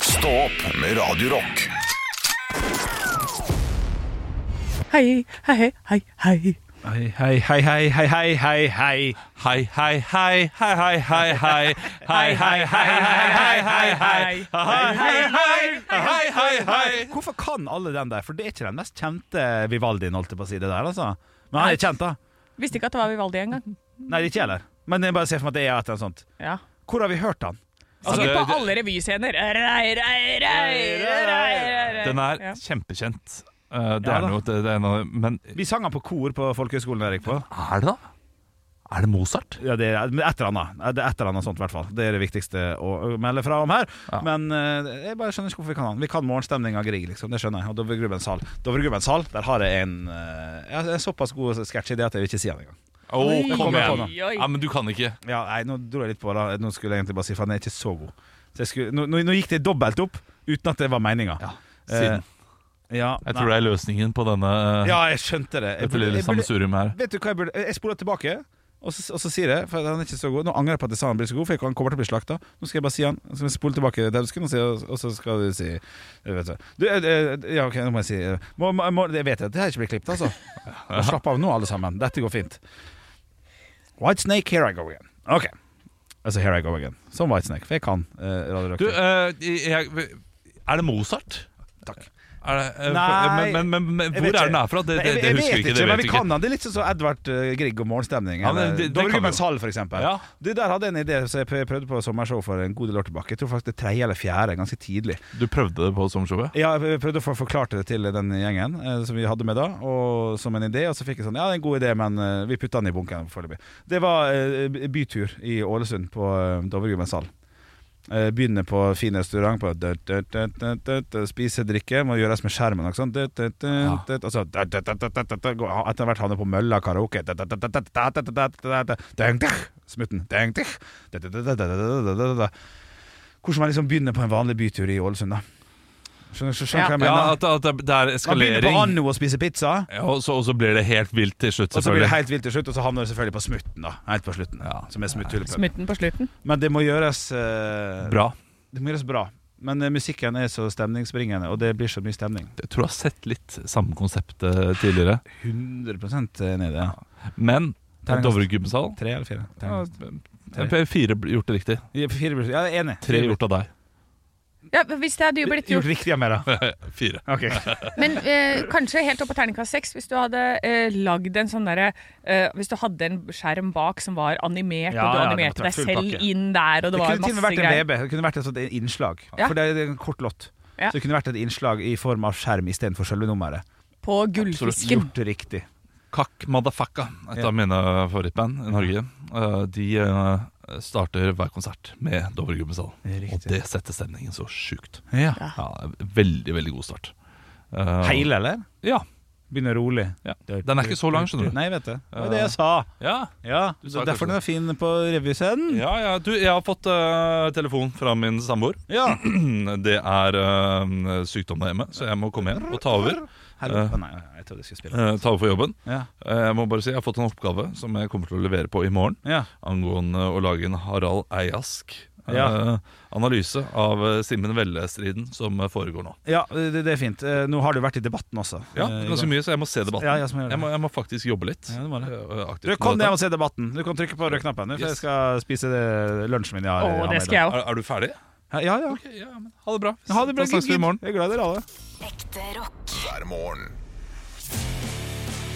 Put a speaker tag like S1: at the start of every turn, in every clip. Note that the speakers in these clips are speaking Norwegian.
S1: Stå opp med Radio Rock.
S2: Hei, hei, hei, hei, hei.
S3: Hei, hei, hei, hei, hei, hei, hei, hei. Hei, hei, hei, hei, hei, hei, hei. Hei, hei, hei, hei, hei, hei, hei. Hei, hei, hei, hei, hei, hei. Hvorfor kan alle den der? For det er ikke den mest kjente Vivaldien, holdt jeg på å si det der, altså. Men han er kjent, da.
S2: Visste ikke at det var Vivaldi engang.
S3: Nei, det er ikke jeg heller. Men jeg bare ser for meg at det er et eller annet sånt.
S2: Ja.
S3: Hvor har vi hørt han?
S2: Sikkert
S4: det-
S2: på alle revyscener. Rei, rei, rei, rei, rei.
S4: Den er
S2: Ja.
S4: kjempekjent. Eh, det,
S3: Eh, Ja
S4: er
S3: da.
S4: noe, det, det er noe Men
S3: Vi sang han på kor på folkehøgskolen der jeg gikk på.
S4: er det da? Er det Mozart?
S3: Ja, det er men et eller annet. Det er et eller annet sånt, i hvert fall. Det er det viktigste å melde fra om her.
S4: Ja.
S3: Men eh, jeg bare skjønner ikke hvorfor vi kan han. Vi kan morgenstemning av Grieg, liksom. Det skjønner jeg. Og Dovregubbens hall. Dovregubbens hall, der har jeg en, eh, jeg har en såpass god sketsj i det at jeg vil ikke si han engang.
S4: Å,
S2: Oi,
S4: kom
S3: oi,
S4: igjen!
S2: oi.
S4: Ja, men du kan ikke.
S3: Ja, nei, nå dro jeg litt på det. Nå skulle jeg egentlig bare si for han er ikke så god. Så jeg skulle, nå, nå, nå gikk det dobbelt opp uten at det var meninga.
S4: Ja, Siden.
S3: ja,
S4: Jeg tror det er løsningen på denne
S3: ja, jeg skjønte det. Jeg
S4: dette
S3: burde-
S4: lille
S3: jeg burde-
S4: sammensurium her.
S3: Vet du hva jeg burde Jeg spoler tilbake og så, og så sier jeg, for han er ikke så god Nå angrer jeg på at jeg sa han blir så god, for han kommer til å bli slakta. Nå skal jeg bare si han. Så skal jeg spole tilbake det du skulle si, og, og så skal du si jeg vet ikke. du, eh, eh, Ja, ok, nå må jeg si eh, må, må, må, Jeg vet at det her ikke blir klippet, altså. Nå Slapp av nå, alle sammen. Dette går fint. White Snake, here I go again. Ok. Altså, here I go again. Som White Snake, for jeg kan eh, Radio
S4: Du,
S3: Rock.
S4: eh, jeg, er det Mozart?
S3: Takk.
S4: Er det, eh,
S3: Nei,
S4: men, men, men, men
S3: jeg
S4: hvor
S3: vet
S4: er
S3: ikke.
S4: den herfra? Det,
S3: Nei,
S4: det,
S3: jeg-
S4: det
S3: jeg
S4: husker
S3: vet
S4: vi ikke. Det
S3: men
S4: vet
S3: vi
S4: vi ikke.
S3: kan han. Det er litt sånn som Edvard eh, Grieg og Morgenstemning.
S4: Ja, men
S3: eller
S4: det- det kan vi
S3: Dovregubbens
S4: jo.
S3: hall, for eksempel.
S4: Ja.
S3: Du, der hadde jeg en idé som jeg prø- prøvde på sommershow for en god del år tilbake. Jeg tror faktisk det er tredje eller fjerde, ganske tidlig.
S4: Du prøvde det på sommershowet?
S3: Ja, jeg prøvde å få forklart det til den gjengen eh, som vi hadde med da, og som en idé. Og så fikk jeg sånn Ja, det er en god idé, men eh, vi putta den i bunken foreløpig. Det var eh, bytur i Ålesund, på eh, Dovregubbens hall. Eh, Begynne på fin restaurant, på døt, døt, døt, døt, døt, spise, drikke, må gjøres med skjermen. Ikke sant? Døt, døt, døt, døt, og så døt, døt, døt, døt, døt, døt, gå- Etter hvert havne på mølla karaoke. Døt, døt, døt, døt, døt, døt, døt, døt, døt, døng, døh, Smutten. Døng, døh, døt, døt, døt, døt, døt, døt, døt, døt, døt. Hvordan man liksom begynner på en vanlig bytur i Ålesund, da. Skjønner, skjønner hva jeg
S4: Ja,
S3: mener?
S4: at, at det- det er
S3: Man begynner på
S4: eskalering,
S3: Anno å spise pizza,
S4: Ja, og så, og så blir det helt vilt til slutt,
S3: og så blir det
S4: selvfølgelig.
S3: helt vilt til slutt, og så havner det selvfølgelig på smutten. da Helt på slutten,
S4: Ja.
S3: som er smutthulepuben.
S2: Smutten på slutten.
S3: Men det må gjøres eh,
S4: Bra.
S3: Det må gjøres bra. Men eh, musikken er så stemningsbringende, og det blir så mye stemning.
S4: Jeg tror jeg har sett litt samme konsept eh, tidligere.
S3: 100 enig eh, i det.
S4: Men
S3: Terningkast.
S4: Dovregubbens hall
S3: Tre eller fire?
S4: ja,
S3: Terningkast.
S4: p- Fire bl- gjort det riktig.
S3: Ja, fire blir- ja, jeg er enig.
S4: Tre gjort av deg.
S2: Ja, men hvis det hadde jo blitt
S3: Gjort
S2: gjort
S3: riktig av meg, da.
S4: Fire.
S3: Ok.
S2: Men eh, kanskje helt opp på terningkast seks, hvis du hadde eh, lagd en sånn derre eh, Hvis du hadde en skjerm bak som var animert,
S3: Ja,
S2: og du
S3: ja, det
S2: animerte deg
S3: måtte vært full
S2: selv
S3: pakke.
S2: inn der, og
S3: Det
S2: det, var
S3: kunne til og med
S2: masse
S3: vært en
S2: greier.
S3: VB. Det kunne vært et sånt innslag.
S2: Ja.
S3: For det er en kort låt.
S2: Ja.
S3: Så det kunne vært et innslag i form av skjerm istedenfor selve nummeret.
S2: På gullfisken.
S3: Gjort det riktig.
S4: Kakk Madafakka, et
S3: Ja.
S4: av mine favorittband i Norge. Eh, De eh, starter hver konsert med Dovregubbens hall. Og
S3: Riktig.
S4: det setter stemningen så sjukt.
S3: Ja.
S4: Ja, veldig, veldig god start. Eh,
S3: Hele, eller?
S4: Ja.
S3: Begynner rolig.
S4: ja. Den er ikke så lang, skjønner du.
S3: Nei, vet du. Det var det jeg sa.
S4: Ja.
S3: Ja,
S4: Du sa
S3: så Derfor
S4: kanskje
S3: den er fin på revyscenen.
S4: Ja, ja, du, jeg har fått eh, telefon fra min samboer.
S3: Ja.
S4: Det er eh, sykdom der hjemme, så jeg må komme hjem og ta over.
S3: Helvete. Å, Nei, jeg trodde jeg skulle spille.
S4: Eh, ta over for jobben.
S3: Ja.
S4: Eh, jeg må bare si jeg har fått en oppgave som jeg kommer til å levere på i morgen.
S3: Ja.
S4: Angående å lage en Harald Eiask eh,
S3: Ja.
S4: analyse av eh, Simen Velle-striden som eh, foregår nå.
S3: ja, det, det er fint. Eh, Nå har du vært i debatten også.
S4: Ja,
S3: Eh, i
S4: ganske
S3: går.
S4: mye, så jeg må se debatten.
S3: Ja, jeg som gjør det.
S4: jeg, må, jeg må faktisk jobbe litt.
S3: Ja, du må det.
S4: eh, aktivt
S3: Du,
S4: med
S3: Kom
S4: dette.
S3: ned og se debatten. Du kan trykke på rød-knappen. du, For jeg
S4: Yes.
S3: skal spise det lunsjen min. jeg har-
S2: Å,
S3: har med i
S2: det
S3: dag.
S2: skal jeg òg.
S4: Er, er du ferdig?
S3: Ja, ja.
S4: Ok, ja, men Ha det bra.
S3: Ha det bra.
S4: Da snakkes vi i morgen.
S3: Jeg er glad i dere alle.
S5: Ekte rock.
S1: hver morgen.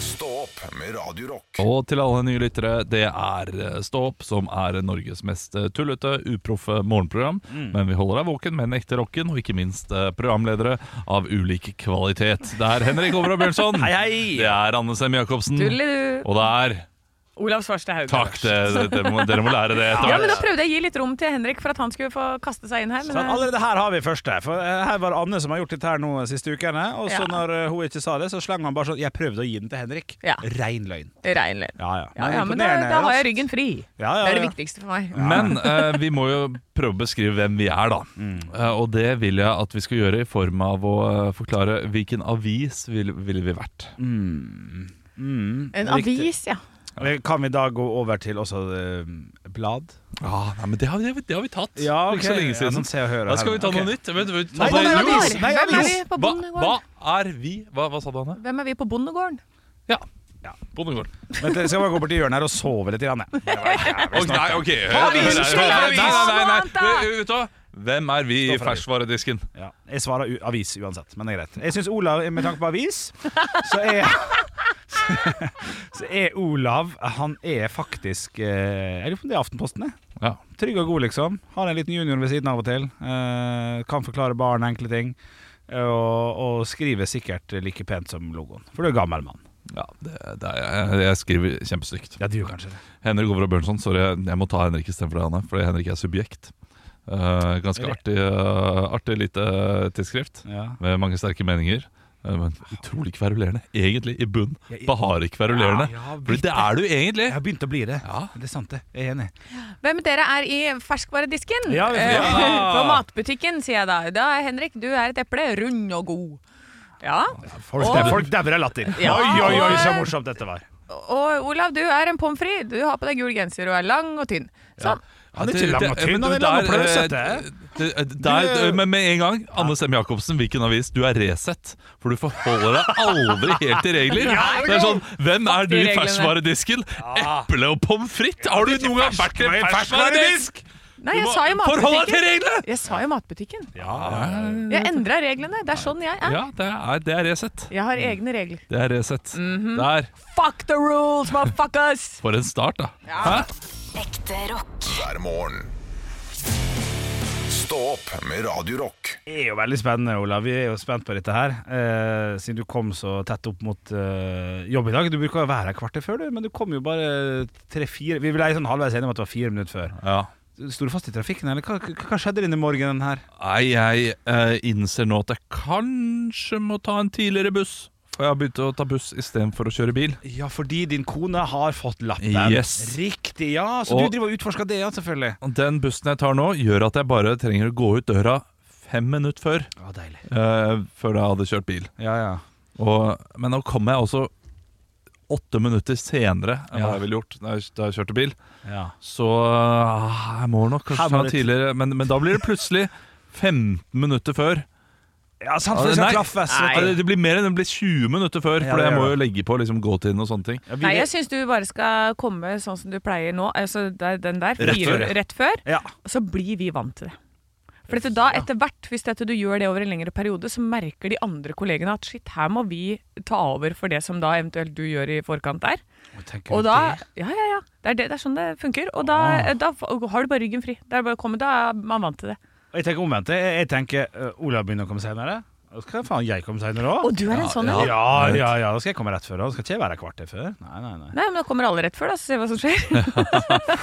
S1: Stå opp med Radio Rock.
S4: Og til alle nye lyttere, det er eh, Stå opp, som er Norges mest eh, tullete, uproffe morgenprogram.
S3: Mm.
S4: Men vi holder deg våken med den ekte rocken, og ikke minst eh, programledere av ulik kvalitet. Det er Henrik Over og Bjørnson.
S3: Hei, hei!
S4: Det er Anne Sem Jacobsen.
S6: Tullidu.
S4: Mm. Og det er
S2: Olav Svarstad Haug.
S4: Takk, det, det, dere må, dere må lære det etter
S6: Ja, men
S4: hvert.
S6: Nå prøvde jeg å gi litt rom til Henrik for at han skulle få kaste seg inn her.
S3: Sånn,
S6: Men eh,
S3: allerede her har vi første. For eh, her var det Anne som har gjort dette her nå de siste ukene. Og så
S6: Ja.
S3: når eh, hun ikke sa det, så slang han bare sånn Jeg prøvde å gi den til Henrik.
S6: Ja.
S3: Rein løgn.
S2: eh,
S6: rein løgn.
S3: Ja, ja.
S6: Ja, ja, men da, da har jeg ryggen fri.
S3: Ja, ja,
S6: Det er det
S3: ja.
S6: viktigste for meg.
S4: Men eh, vi må jo prøve å beskrive hvem vi er, da.
S3: Mm.
S4: Eh, og det vil jeg at vi skal gjøre i form av å eh, forklare
S3: Mm.
S4: hvilken avis ville vil vi vært.
S6: En
S3: Riktig.
S6: avis, ja.
S3: Men Kan vi da gå over til også eh, blad?
S4: Ah, nei, men det har, vi, det har vi tatt.
S3: Ja, ok.
S4: Ikke så lenge
S3: Ja,
S4: siden.
S3: sånn se og høre
S4: da skal vi ta
S3: her.
S4: noe nytt. Vent, vent, ta
S3: Nei,
S4: noe-
S3: nei, nei,
S4: Jo,
S3: avis!
S2: Hvem
S3: Nei,
S2: er
S3: avis!
S2: vi på
S4: hva, hva
S2: bondegården?
S4: er vi? Hva, hva sa du, Hanne?
S2: Hvent er vi på bondegården?
S4: Ja. Bondegård.
S3: Vent, jeg skal bare gå bort til hjørnet her og sove litt. Grann, jeg. Det var jævlig
S4: Ok,
S3: snart.
S4: nei, ok.
S3: avisen,
S4: Nei,
S3: spill
S4: nei,
S3: avisen!
S4: Nei, nei, nei.
S2: Ta noe annet, da!
S4: Vet- Vet du hva? Hvem er vi i
S3: Stå for det.
S4: ferskvaredisken?
S3: Ja. Jeg svarer u avis uansett, men det er greit. Jeg syns Olav, med tanke på avis, så er Så er Olav Han er faktisk eh, Jeg lurer på om det er Aftenposten, jeg.
S4: Ja.
S3: Trygg og god, liksom. Har en liten junior ved siden av og til. Eh, kan forklare barn enkle ting. eh, Og, og skriver sikkert like pent som logoen. For du er gammel mann.
S4: Ja, det, det er, jeg, jeg skriver kjempestygt.
S3: Ja, du gjør kanskje det.
S4: Henrik Over og Bjørnson, sorry, jeg, jeg må ta Henrik istedenfor deg, Hanne. Fordi Henrik er subjekt. Eh, ganske
S3: Eller-
S4: artig, eh, artig lite eh, tidsskrift
S3: Ja.
S4: med mange sterke meninger. eh, Men utrolig kverulerende. Egentlig, i bunn,
S3: Ja, i-
S4: bare kverulerende.
S3: Ja, ja,
S4: Fordi det er du egentlig!
S3: Jeg har begynt å bli det.
S4: Ja.
S3: Det er sant, det. Jeg er enig.
S2: Hvem dere er i ferskvaredisken?
S3: Ja, vi-
S2: Eh,
S4: Ja.
S2: På matbutikken, sier jeg da. Da er Henrik, du er et eple. Rund og god. Ja.
S3: Folk,
S2: Og-
S3: folk dauer av latter.
S2: Ja.
S3: Oi, oi, oi, så morsomt dette var.
S2: Og Olav, du er en pommes frites. Du har på deg gul genser og er lang og tynn. Sånn.
S3: Han er
S4: Ja,
S3: ikke
S4: det-
S3: lang og
S4: det-
S3: tynn,
S4: men
S3: han er lang og
S4: der,
S3: pløsete.
S4: eh, det- det- der- Men med en gang, Anne Sem Jacobsen, hvilken avis? Du er Resett. For du forholder deg aldri helt til regler. Det er sånn, Hvem er du i
S2: Fuck de
S4: ferskvaredisken? Eple og pommes frites? Har du noen gang vært i en ferskvaredisk?
S2: Nei,
S4: Du
S2: jeg
S4: må
S2: sa jo
S4: Forhold deg til
S2: matbutikken.
S4: reglene!
S2: Jeg sa jo matbutikken.
S4: Ja,
S2: Jeg endra reglene. Det er sånn jeg er.
S4: ja, det er, det er Resett.
S2: Jeg har egne regler.
S4: Det er Resett. Der.
S2: Mm. Fuck the rules, motherfuckers!
S4: For en start, da. Hæ?
S7: Ekte rock.
S1: hver morgen. Stå opp med Radio Rock.
S3: Det er jo veldig spennende, Olav. Vi er jo spent på dette her. Eh, siden du kom så tett opp mot eh, jobb i dag. Du bruker å være her kvarter før, du, men du kom jo bare tre-fire Vi ble sånn halvveis enige om at det var fire minutter før.
S4: Ja.
S3: Sto du fast i trafikken, eller hva, hva- hva skjedde denne morgenen her?
S4: Nei, jeg eh, innser nå at jeg kanskje må ta en tidligere buss. For jeg har begynt å ta buss istedenfor å kjøre bil.
S3: Ja, fordi din kone har fått lappen.
S4: Yes.
S3: Riktig, ja. Så
S4: Og-
S3: du driver og utforsker det, ja, selvfølgelig.
S4: Og Den bussen jeg tar nå, gjør at jeg bare trenger å gå ut døra fem minutter før.
S3: Ja, deilig.
S4: eh, før jeg hadde kjørt bil.
S3: Ja, ja.
S4: Og, men nå kom jeg også åtte minutter senere enn
S3: Ja.
S4: hva jeg ville gjort da jeg, da jeg kjørte bil.
S3: ja.
S4: Så ah, jeg må nok kanskje
S3: Her må
S4: ta
S3: det-
S4: en tidligere, men, men da blir det plutselig 15 minutter før.
S3: Ja, sant, for det skal
S4: Nei.
S3: klaffes.
S4: Ja,
S3: vet
S4: det,
S3: du.
S4: det blir mer enn det blir 20 minutter før,
S3: Ja,
S4: for
S3: det
S4: jeg
S3: gjør
S4: må jo legge på liksom, gåtiden og sånne ting.
S3: Ja, vi-
S2: Nei, jeg syns du bare skal komme sånn som du pleier nå. Altså det er den der,
S4: Rett
S2: fire-
S4: før.
S2: rett før.
S3: ja.
S2: Og så blir vi vant til det. For dette, da, etter hvert, hvis dette du gjør det over en lengre periode, så merker de andre kollegene at shit, her må vi ta over for det som da eventuelt du gjør i forkant der.
S3: Tenker
S2: Og
S3: du
S2: da
S3: det?
S2: Ja, ja, ja. Det er, det, det er sånn det funker. Og da,
S4: Ah.
S2: da f- har du bare ryggen fri. Det er bare å komme, da er man vant til det.
S3: Og Jeg tenker omvendt. Jeg, jeg tenker øh, Olav begynner å komme senere. Da skal faen jeg komme senere òg.
S2: Og du er en sånn
S4: ja.
S2: en.
S3: Ja, ja, ja, da skal jeg komme rett før. Da skal ikke jeg være kvarter før. Nei, nei, nei.
S2: Nei, men da kommer alle rett før, da, så ser vi hva som skjer.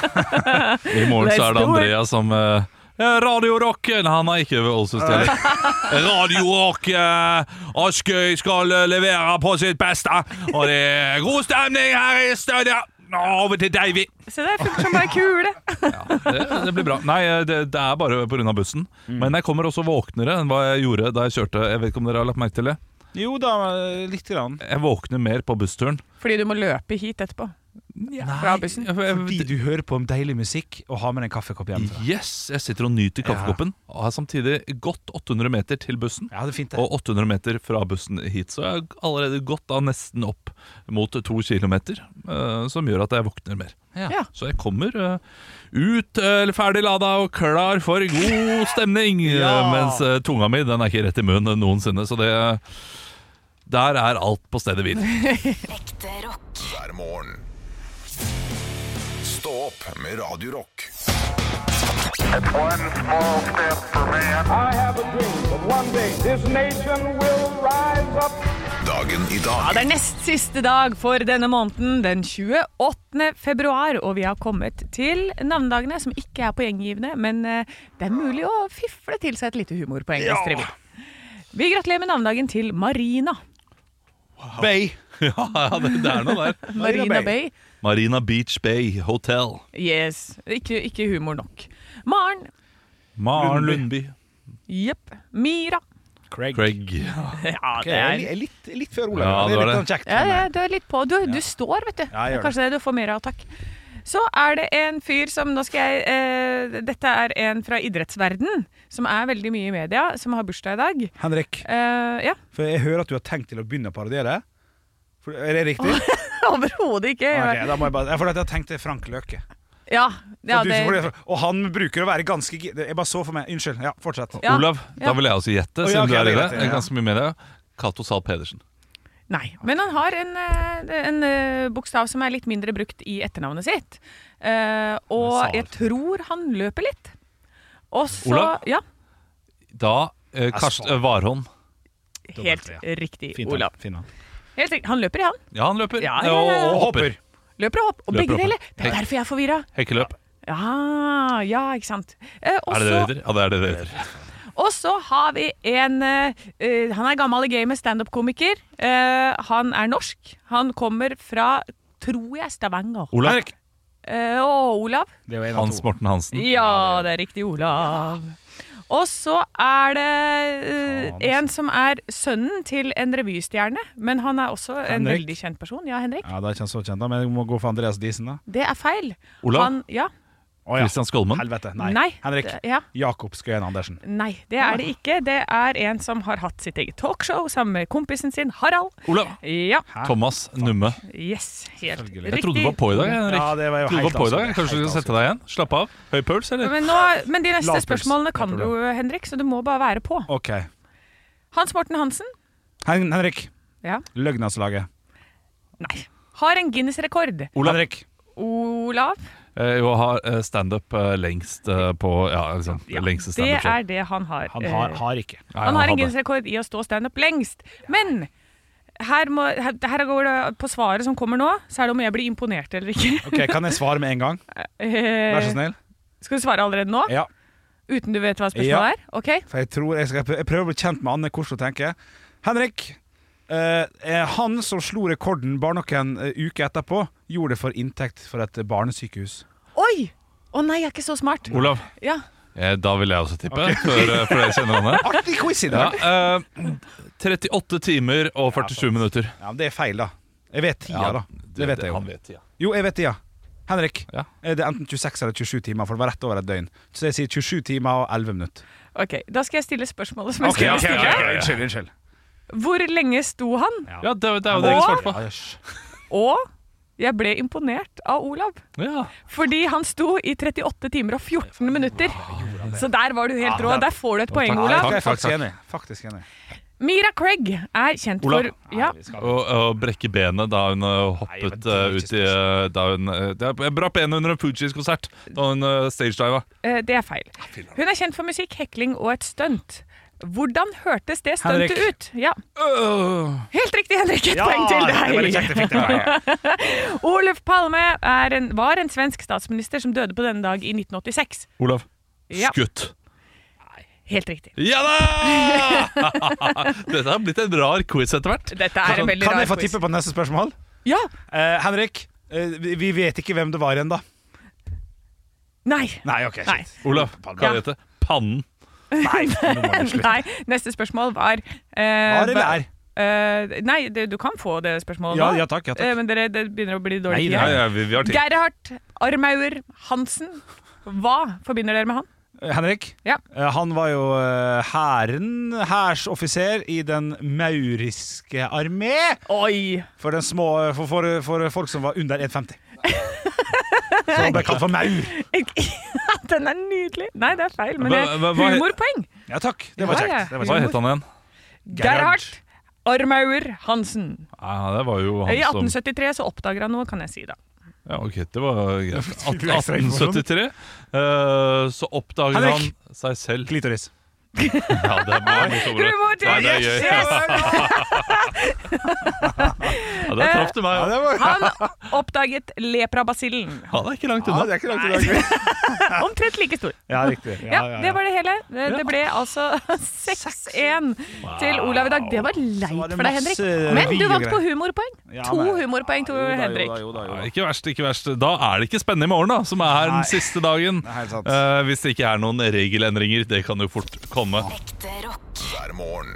S4: I morgen så er
S2: Let's
S4: det
S2: do it.
S4: Andrea som eh, «Ja, Radio Rock Nei, han er ikke ved Ålesund heller. Radio Rock eh, Askøy skal eh, levere på sitt beste. Og det er god stemning her i stedet. Over til Davy.
S2: Se der, funker som bare kule.
S4: Det, det blir bra. Nei, eh, det, det er bare pga. bussen. Men jeg kommer også våknere enn hva jeg gjorde da jeg kjørte. Jeg vet ikke om dere har lagt merke til det.
S3: Jo da, litt grann.
S4: Jeg våkner mer på bussturen.
S2: Fordi du må løpe hit etterpå. Fra bussen.
S4: Jeg- jeg-
S3: Fordi du hører på deilig musikk og har med deg en kaffekopp hjemmefra.
S4: Yes, jeg sitter og nyter kaffekoppen. Og har samtidig gått 800 meter til bussen.
S3: Ja, det er fint, det.
S4: Og 800 meter fra bussen hit, så jeg har allerede gått da nesten opp mot to kilometer, eh, som gjør at jeg våkner mer.
S2: Ja.
S4: Så jeg kommer eh, ut eh, ferdig lada og klar for god stemning, eh,
S3: Ja.
S4: mens eh, tunga mi den er ikke rett i munnen noensinne, så det der er alt på stedet hvil.
S7: Ekte rock.
S1: hver morgen. Stå opp med Radio Rock.
S8: One small step for man. I have a dream that one day this nation will rise up.
S1: Dagen i
S2: Ja,
S1: dag
S2: det er nest siste dag for denne måneden, den 28. februar, og vi har kommet til navnedagene, som ikke er poenggivende, men eh, det er mulig å fiffle til seg et lite humorpoeng. hvis dere vil. Vi gratulerer med navnedagen til Marina.
S3: Bay.
S4: ja, ja, det, det er noe der.
S3: Marina
S2: Marina,
S3: Bay.
S2: Bay.
S4: Marina Beach Bay Hotel.
S2: Yes. Ikke, ikke humor nok. Maren.
S4: Maren Lundby.
S2: Jepp. Mira.
S3: Craig.
S4: Craig.
S2: Ja,
S3: Ok,
S2: det
S3: jeg er
S2: er
S3: li- litt, litt før Olav.
S4: Ja,
S3: det er
S4: det var
S3: litt
S4: det.
S3: sånn kjekt.
S2: ja,
S3: for
S2: ja,
S3: meg.
S2: du er litt på. Du, du står, vet du.
S3: Ja, jeg gjør
S2: Kanskje det du får mer av, takk. Så er det en fyr som Nå skal jeg eh, Dette er en fra idrettsverden som er veldig mye i media, som har bursdag i dag.
S3: Henrik,
S2: Eh, ja,
S3: for jeg hører at du har tenkt til å begynne å parodiere. For, er det riktig?
S2: overhodet ikke.
S3: Ok, da må jeg bare, jeg, for at jeg tenkte Frank Løke.
S2: Ja, ja,
S3: Og du-
S2: det,
S3: for det- og han bruker å være ganske gi- Jeg bare så for meg. Unnskyld. Ja, fortsett.
S2: Ja.
S4: Olav,
S2: Ja.
S4: da vil jeg også gjette,
S3: Å,
S4: siden
S3: ja, ok,
S4: du er i
S3: det er
S4: det.
S3: greit,
S4: Det er
S3: ja.
S4: Ganske mye med det. Cato Zahl Pedersen.
S2: Nei, men han har en, eh, en eh, bokstav som er litt mindre brukt i etternavnet sitt. Eh,
S3: Sal.
S2: og jeg tror han løper litt. Og så
S4: Olav?
S2: Ja,
S4: Da eh, Karst,
S3: Asfalt.
S4: eh, Varholm.
S2: helt
S3: Dobbelt,
S2: riktig,
S3: Fint,
S2: Olav.
S3: Fint, han.
S2: Helt riktig. Han løper, i han.
S4: Ja, han løper.
S2: Ja, ja, ja, ja.
S4: Og, og hopper.
S3: Hopper.
S2: Løper og hopper. Og
S4: Løper
S2: begge
S4: og hopper.
S2: deler. Det er
S4: Hei.
S2: derfor jeg er forvirra.
S4: Hekkeløp.
S2: Ja, ja, ikke sant. Eh, og
S4: Er det det
S2: så-
S4: det heter? Ja, det er det det heter.
S2: Og så har vi en eh, eh, Han er gammel i gamet, standup-komiker. Eh, han er norsk. Han kommer fra, tror jeg, Stavanger.
S4: Olav.
S3: Henrik.
S2: Eh, og Olav.
S3: Det var en av
S4: Hans
S3: to.
S4: Morten Hansen.
S2: Ja, det er riktig, Olav. Og så er det eh,
S3: Faen, altså.
S2: en som er sønnen til en revystjerne, men han er også en
S3: Henrik.
S2: veldig kjent person. Ja, Henrik.
S3: Ja, Da er ikke han så kjent, da, men jeg må gå for Andreas Diesen, da.
S2: Det er feil.
S4: Olav?
S2: Han, ja.
S3: Å, ja.
S4: Christian Skolmen.
S3: Helvete. Nei.
S2: Nei.
S3: Henrik.
S2: Det- Ja.
S3: Jakob Skøyen Andersen.
S2: Nei, det er det ikke. Det er en som har hatt sitt eget talkshow sammen med kompisen sin, Harald.
S4: Olav.
S2: Ja.
S3: Hæ?
S4: Thomas Numme.
S2: Yes, helt
S3: Selvfølgelig.
S2: riktig.
S4: Jeg trodde du var på i dag, Henrik.
S3: Ja, det var jo
S4: Trodde du
S3: helt
S4: var på i dag.
S3: avslørt.
S4: Kanskje du
S3: Helt
S4: skal sette deg igjen? Slappe av. Høy puls, eller?
S2: Men, nå, men de neste
S3: Lavpuls.
S2: spørsmålene
S3: Det
S2: kan
S3: er
S2: du, Henrik, så du må bare være på.
S3: OK.
S2: Hans Morten Hansen
S3: Hen Henrik.
S2: Ja.
S3: Løgnaslaget.
S2: Nei. har en Guinness-rekord.
S4: Olav.
S3: Henrik.
S2: Olav,
S4: Eh, jo, har eh, standup eh, lengst eh, på Ja, liksom. Lengste
S2: det
S4: standup-show.
S2: er det han har.
S3: Han har,
S2: eh,
S3: har ikke.
S4: Nei,
S2: han har en
S4: hadde.
S2: Guinness-rekord i å stå standup lengst. Men her, må, her, her går det på svaret som kommer nå, så er det om jeg blir imponert eller ikke.
S3: Ok, Kan jeg svare med en gang?
S2: Eh,
S3: Vær så snill.
S2: Skal du svare allerede nå?
S3: Ja.
S2: Uten du vet hva spørsmålet
S3: Ja.
S2: er? Ok.
S3: For jeg tror jeg, skal, jeg prøver å bli kjent med Anne Korslo, tenker jeg. Henrik, eh, eh, han som slo rekorden bare noen eh, uker etterpå, gjorde det for inntekt for et eh, barnesykehus.
S2: Oi! Å nei, jeg er ikke så smart.
S4: Olav.
S2: Ja.
S4: Eh, da vil jeg også tippe, for, eh, for jeg kjenner han her.
S3: Artig quiz i
S4: Ja,
S3: dag!
S4: eh, 38 timer og 47 minutter.
S3: Ja, men det er feil, da. Jeg vet tida, da. Det vet jeg
S4: Han
S3: jo.
S4: vet, ja.
S3: Jo, jeg vet tida. Henrik,
S4: Ja.
S3: eh, det er enten 26 eller 27 timer, for det var rett over et døgn. Så jeg sier 27 timer og 11 minutter.
S2: Ok, Da skal jeg stille spørsmålet som jeg skulle stille.
S3: Unnskyld, unnskyld.
S2: Hvor lenge sto han?
S4: Ja, det, det er jo det jeg svarte på.
S3: Ja, jøss.
S2: Og jeg ble imponert av Olav.
S4: Ja.
S2: Fordi han sto i 38 timer og 14 minutter. Så der var du helt rå. Der får du et poeng,
S4: takk.
S2: Olav.
S3: Jeg er faktisk
S4: takk.
S3: enig. Faktisk enig.
S2: Mira Craig er kjent
S4: Olav.
S2: for ja,
S4: Og, og brekke benet da hun eh,
S3: Nei, men
S4: hoppet
S3: det er
S4: eh,
S3: ikke
S4: ut i eh, da hun, eh, Det er bra benet under en Fugees-konsert da hun eh, stagediva.
S2: eh, Det er feil. Hun er kjent for musikk, hekling og et stunt. Hvordan hørtes det stuntet
S3: Henrik.
S2: ut? Ja.
S4: Øh.
S2: Helt riktig, Henrik. Et poeng
S3: det var
S2: til deg.
S3: litt kjekt jeg fikk det. Ja, ja.
S2: Oluf Palme er en, var en svensk statsminister som døde på denne dag i 1986.
S4: Olav.
S2: Ja.
S4: Skutt.
S2: Helt riktig.
S4: Ja da! Dette har blitt en rar quiz etter hvert.
S2: Dette er en veldig
S3: Kan jeg
S2: rar
S3: få
S2: quiz.
S3: tippe på neste spørsmål?
S2: Ja.
S3: Eh, Henrik, eh, vi- vi vet ikke hvem det var igjen, da.
S2: Nei.
S3: Nei, ok. shit.
S2: Nei.
S4: Olav, hva
S2: Ja.
S4: heter det? Pannen.
S3: Nei, nå må du slutte.
S2: Nei, neste spørsmål var uh,
S3: Var eller er?
S2: Nei, det, du kan få det spørsmålet
S3: Ja,
S2: nå.
S3: ja takk. Ja,
S2: Eh,
S3: takk.
S2: men dere, det begynner å bli
S3: Nei,
S2: dårlig tid
S4: Ja,
S2: her.
S4: ja, vi, vi har tid.
S2: Gerhard Armauer Hansen. Hva forbinder dere med han?
S3: Eh, Henrik,
S2: Ja.
S3: eh, han var jo eh, hæren, hærsoffiser i den mauriske armé.
S2: Oi!
S3: For, den små, for, for, for folk som var under 1,50. Så han ble kalt for maur.
S2: Den er nydelig! Nei, det er feil, men
S4: Hva-
S2: det
S4: hva- hva-
S2: humorpoeng.
S3: Ja takk, det var
S2: Ja, ja.
S3: kjekt. Det var
S4: Hva
S3: kjekt.
S4: het han igjen?
S2: Gerhard Armauer Hansen.
S4: Ja, det var jo
S2: I
S4: han som
S2: 1873 så oppdager han noe, kan jeg si da.
S4: ja, Ok, det var greit.
S3: fikk du ekstra informasjon.
S4: 1873 eh, så oppdager han
S3: Henrik.
S4: seg selv
S3: Klitoris.
S4: Ja, det er bare litt over.
S2: Humor til-
S4: Nei, det er gøy.
S2: Yes!
S4: Ja, der traff du meg. Ja,
S2: Han oppdaget leprabasillen.
S4: det er ikke langt
S3: Ja,
S4: unna.
S3: det er ikke langt i dag.
S2: Omtrent like stor.
S3: Ja, riktig. Ja,
S2: Ja,
S3: ja,
S2: det
S3: ja.
S2: var det hele. Det, det ble altså 6-1 til Olav i dag. Det var
S3: Så var
S2: leit
S3: det
S2: for deg,
S3: masse
S2: Henrik. Men du
S3: videogreier.
S2: vant på humorpoeng.
S3: Ja,
S2: To
S3: men-
S2: humorpoeng til Henrik.
S3: Jo da, jo da, jo
S4: Ja,
S3: da.
S4: ikke verst, ikke verst. Da er det ikke spennende i morgen, da, som er
S3: Nei.
S4: den siste dagen.
S3: er helt sant.
S4: Eh, hvis det ikke er noen regelendringer. Det kan jo fort komme.
S5: Ekte rock.
S1: hver morgen.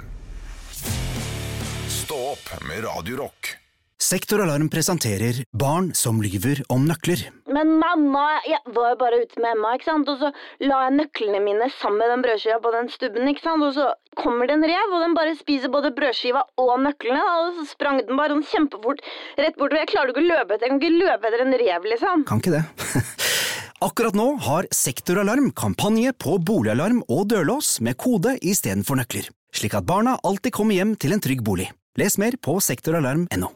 S1: Stå opp med Radio Rock.
S9: Sektoralarm presenterer Barn som lyver om nøkler.
S10: Men mamma, jeg var jo bare ute med Emma, ikke sant? og så la jeg nøklene mine sammen med den brødskiva på den stubben, ikke sant? og så kommer det en rev, og den bare spiser både brødskiva og nøklene, da, og så sprang den bare sånn kjempefort rett bortover. Jeg klarer jo ikke å løpe etter, jeg kan ikke løpe etter en rev, liksom.
S9: Kan ikke det. Akkurat nå har Sektoralarm kampanje på boligalarm og dørlås med kode istedenfor nøkler, slik at barna alltid kommer hjem til en trygg bolig. Les mer på sektoralarm.no.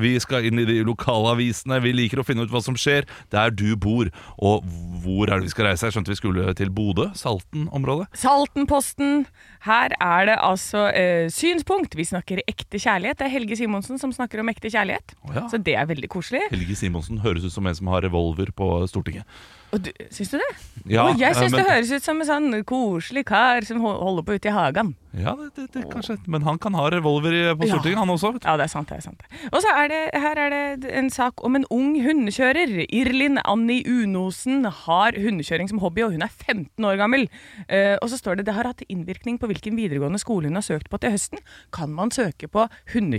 S4: Vi skal inn i de lokale avisene. Vi liker å finne ut hva som skjer der du bor. Og hvor er det vi skal reise? Jeg skjønte vi skulle til Bodø. Salten-området.
S2: Saltenposten. Her er det altså eh, synspunkt. Vi snakker ekte kjærlighet. Det er Helge Simonsen som snakker om ekte kjærlighet.
S4: Å ja.
S2: Så det er veldig koselig.
S4: Helge Simonsen høres ut som en som har revolver på Stortinget.
S2: Og du, syns du det?
S4: Ja,
S2: Og jeg
S4: eh,
S2: syns
S4: men-
S2: det høres ut som en sånn koselig kar som ho- holder på ute i hagen.
S4: Ja, det, det, det, kanskje. Men han kan ha revolver i- på
S2: Ja.
S4: Stortinget, han også. vet du.
S2: Ja, det er sant. det er sant. Og så er det, her er det en sak om en ung hundekjører. Irlin Anni Unosen har hundekjøring som hobby, og hun er 15 år gammel. Eh, og så står det det har hatt innvirkning på hvilken videregående skole hun har søkt på til høsten. Kan man søke på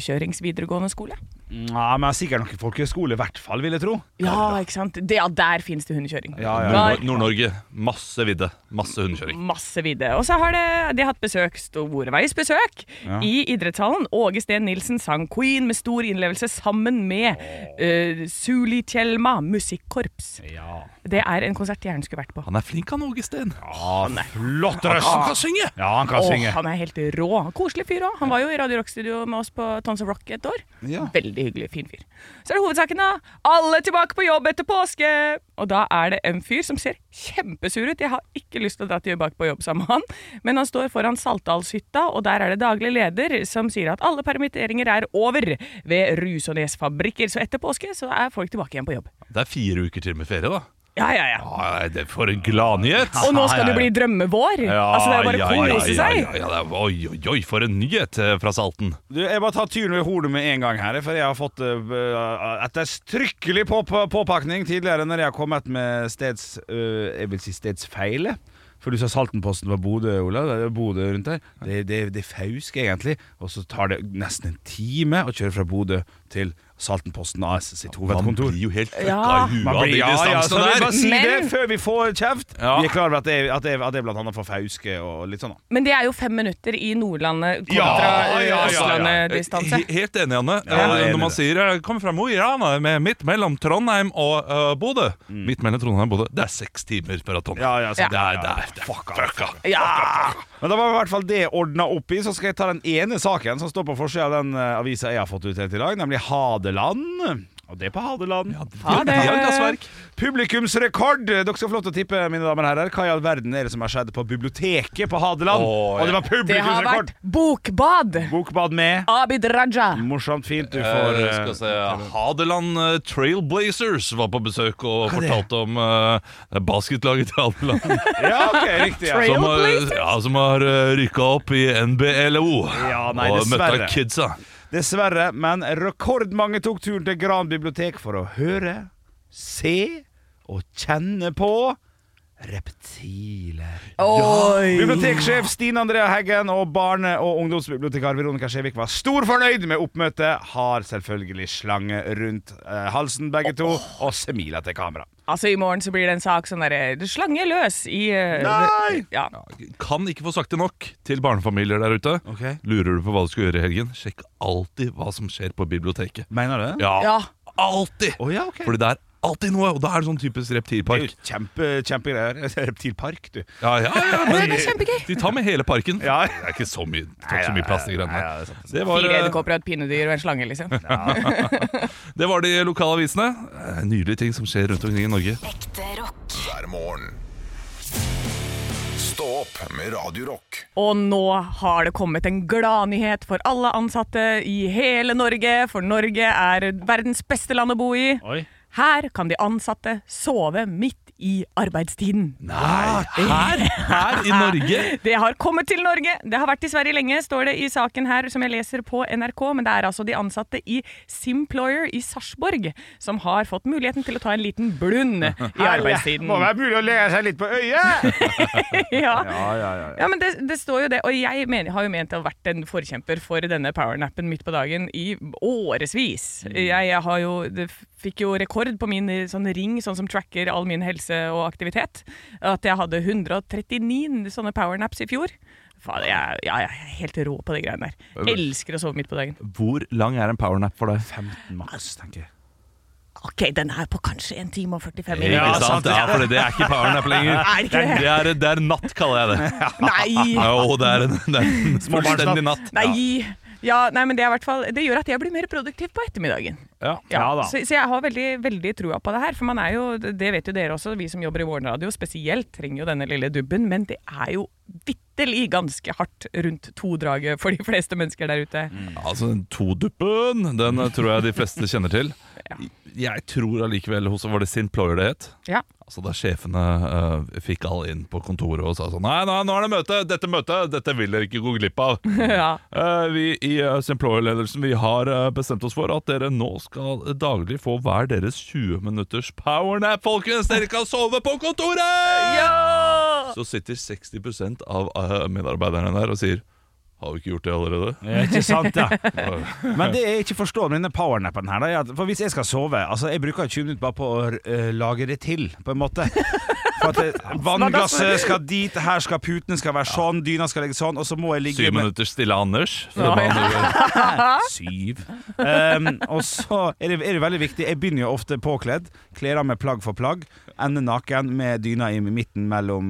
S2: hundekjøringsvideregående skole?
S3: Ja, men sikkert noen folkehøyskole i hvert fall, vil jeg tro.
S2: Ja, ikke sant? Det, ja, der finnes det hundekjøring.
S3: Ja, ja,
S2: Der-
S4: Nord- Nord-Norge. Masse vidde. Masse hundekjøring.
S2: Masse vidde. Og så har det, de har hatt besøk, storveisbesøk, i idrettshallen. Åge Steen Nilsen sang Queen med stor innlevelse sammen med uh, Sulitjelma musikkorps. Det er en konsert jeg gjerne skulle vært på.
S4: Han er flink, han Åge Steen.
S3: Ja, flott
S4: Han
S3: røst!
S4: kan synge!
S3: Ja, han kan
S2: Åh,
S3: synge.
S2: han er helt rå. Koselig fyr òg. Han var jo i Radio Rock-studio med oss på Tons of Rock et år.
S3: Ja.
S2: Veldig hyggelig, fin fyr. Så er det hovedsaken, da. Alle tilbake på jobb etter påske! Og da er det en fyr som ser kjempesur ut. Jeg har ikke lyst til å dra tilbake på jobb sammen med han, men han står foran Saltdalshytta, og der er det daglig leder som sier at alle permitteringer er over ved Rusånes fabrikker. Så etter påske så er folk tilbake igjen på jobb.
S4: Det er fire uker til med ferie, da.
S2: Ja, ja, ja.
S4: Nei, det er For en gladnyhet!
S2: Og nå skal det bli drømmevår! altså, det er bare å kose
S4: ja,
S2: seg!
S4: ja, ja, det er, oi, oi, oi, for en nyhet eh, fra Salten.
S3: Du, jeg bare tar tyren ved hornet med en gang her, for jeg har fått uh, etterstrykkelig på, på, påpakning tidligere når jeg har kommet med steds... øh, jeg vil si stedsfeile. For du sa Saltenposten var Bodø, Olav. Det er Bodø rundt her. Det, det, det er Fauske, egentlig. Og så tar det nesten en time å kjøre fra Bodø til Saltenposten AS sitt
S4: Man
S3: hovedkontor.
S4: blir jo helt fucka
S2: Ja.
S4: i huet
S3: Man
S4: av
S3: blir-
S4: de
S3: ja, ja, så
S4: distansene
S3: vi
S4: der.
S3: bare si det
S2: Men-
S3: før vi får kjeft.
S4: Ja.
S3: Vi er klar over at det, er- at det, er- at det er blant annet for Fauske og litt sånn. da.
S2: Men det er jo fem minutter i Nordlandet kontra eh,
S3: Ja, ja, ja, ja.
S2: Østlandet-distanse.
S4: He- Helt enig, Anne.
S3: Ja,
S4: Eh,
S3: jeg er
S4: Når
S3: enig i
S4: man
S3: det.
S4: sier eh, 'kom fra Mo i Rana', med midt mellom Trondheim og eh, Bodø Midt mellom Trondheim og Bodø, det er seks timer fra Trondheim.
S3: Ja, ja, så-
S4: Det er, det er, det er fucka.
S2: Ja!
S3: Men da var i hvert fall det ordna opp i. Så skal jeg ta den ene saken som står på forsida av den eh, avisa jeg har fått utdelt i dag, nemlig Hadeland. Og det er på Hadeland.
S4: De de har gassverk.
S3: Publikumsrekord! Eh, Dere skal få lov til å tippe, mine damer og herrer. Hva i all verden er det som har skjedd på biblioteket på Hadeland?
S4: Åh,
S3: Og det var
S2: Det har vært
S3: publikumsrekord!
S2: bokbad!
S3: Bokbad med.
S2: Abid Raja.
S3: Morsomt, fint. Du
S4: For,
S3: får
S4: eh,
S3: eh,
S4: skal vi se, Hadeland eh, Trailblazers var på besøk og
S3: Hva er det?
S4: fortalte om eh, basketlaget til Hadeland.
S3: Ja, ok, riktig. Ja.
S4: som, har- ja, som har uh, rykka opp i NBLO
S3: Ja, nei,
S4: og
S3: dessverre.
S4: møtte kidsa.
S3: Dessverre, men rekordmange tok turen til Gran bibliotek for å høre, se og kjenne på reptiler. Biblioteksjef Stine Andrea Heggen og barne- og ungdomsbibliotekar Veronica Skjevik var stor fornøyd med oppmøtet. Har selvfølgelig slange rundt eh, halsen, begge to, og smiler til kamera.
S2: Altså, i morgen så blir det en sak sånn derre Slange løs i eh,
S3: Nei!
S2: Ja.
S4: Kan ikke få sagt det nok til barnefamilier der ute.
S3: Ok.
S4: Lurer du på hva du skal gjøre i helgen, sjekk alltid hva som skjer på biblioteket.
S3: Mener du det?
S4: Ja,
S2: Ja.
S4: alltid!
S3: Å ja, ok.
S4: Fordi det er alltid noe, og da er det sånn typisk
S3: Det er jo
S4: reptilpark.
S3: kjempe, kjempegreier. Reptilpark, du.
S4: Ja, ja, ja, men
S2: det er kjempegøy.
S4: De tar med hele parken.
S3: Ja.
S4: Det er ikke så mye, det tar ikke så mye plass i greiene.
S3: Nei, ja, det er sant.
S4: Det var,
S2: Fire
S4: eh,
S2: edderkopper og et pinnedyr og en slange, liksom.
S4: det var de lokale avisene. Eh, Nydelige ting som skjer rundt omkring i Norge.
S5: Ekte rock.
S1: hver morgen. Stå opp med Radio Rock.
S2: Og nå har det kommet en gladnyhet for alle ansatte i hele Norge, for Norge er verdens beste land å bo i.
S3: Oi.
S2: Her kan de ansatte sove midt i arbeidstiden.
S4: Nei! Her? Her i Norge?
S2: Det har kommet til Norge! Det har vært i Sverige lenge, står det i saken her som jeg leser på NRK. Men det er altså de ansatte i Simployer i Sarpsborg som har fått muligheten til å ta en liten blund i arbeidstiden.
S3: mulig å legge seg litt på øyet!
S2: Ja.
S3: Ja, ja, ja.
S2: Ja, men det, det står jo det, og jeg mener, har jo ment å ha vært en forkjemper for denne powernappen midt på dagen i årevis. Jeg, jeg har jo, det f- fikk jo rekord på min eh, sånn ring, sånn som tracker all min helse og aktivitet, at jeg hadde 139 sånne powernaps i fjor. Faen, jeg, ja, jeg er helt rå på de greiene der. Elsker å sove midt på dagen.
S4: Hvor lang er en powernap for deg?
S3: 15 maks, tenker jeg.
S2: Ok, den er på kanskje 1 time og 45 minutter. altså.
S4: Ja, sant, ja, for det er ikke powernap lenger.
S2: Er det ikke det?
S4: Det er, det er natt, kaller jeg det.
S2: Nei!
S4: Jo, det er en, det er en fullstendig natt.
S2: Nei! Ja, nei, men det, er i hvert fall, det gjør at jeg blir mer produktiv på ettermiddagen.
S4: Ja.
S3: Ja da.
S2: Så, så jeg har veldig, veldig trua på det her. For man er jo, det vet jo dere også, vi som jobber i morgenradio spesielt, trenger jo denne lille dubben. Men det er jo vitterlig ganske hardt rundt todraget for de fleste mennesker der ute.
S4: Altså, den toduppen, den eh, tror jeg de fleste kjenner til.
S2: Ja.
S4: Jeg tror allikevel hos Var det Sinployer det het?
S2: Ja.
S4: Altså Da sjefene eh, fikk alle inn på kontoret og sa sånn Nei, nei, nå er det møte! Dette møtet dette vil dere ikke gå glipp av.
S2: ja.
S4: Eh, vi i uh, Simployer-ledelsen Vi har eh, bestemt oss for at dere nå skal daglig få hver deres 20 minutters powernap, folkens! Dere kan sove på kontoret! Så sitter 60 av eh, medarbeiderne der og sier Har vi ikke gjort det allerede?
S3: Eh, Ikke sant, ja. Men det jeg ikke forstår med denne powernappen her, da, er at for hvis jeg skal sove Altså, jeg bruker 20 minutter bare på å eh, lage det til, på en måte. For at eh, Vannglasset skal dit, her skal putene skal være sånn, dyna skal ligge sånn, og så må jeg ligge
S4: Syv
S3: med-
S4: minutter stille Anders.
S2: Ja,
S3: Syv. Um, og så er det, er det veldig viktig Jeg begynner jo ofte påkledd. Kler av meg plagg for plagg. Ender naken med dyna i midten mellom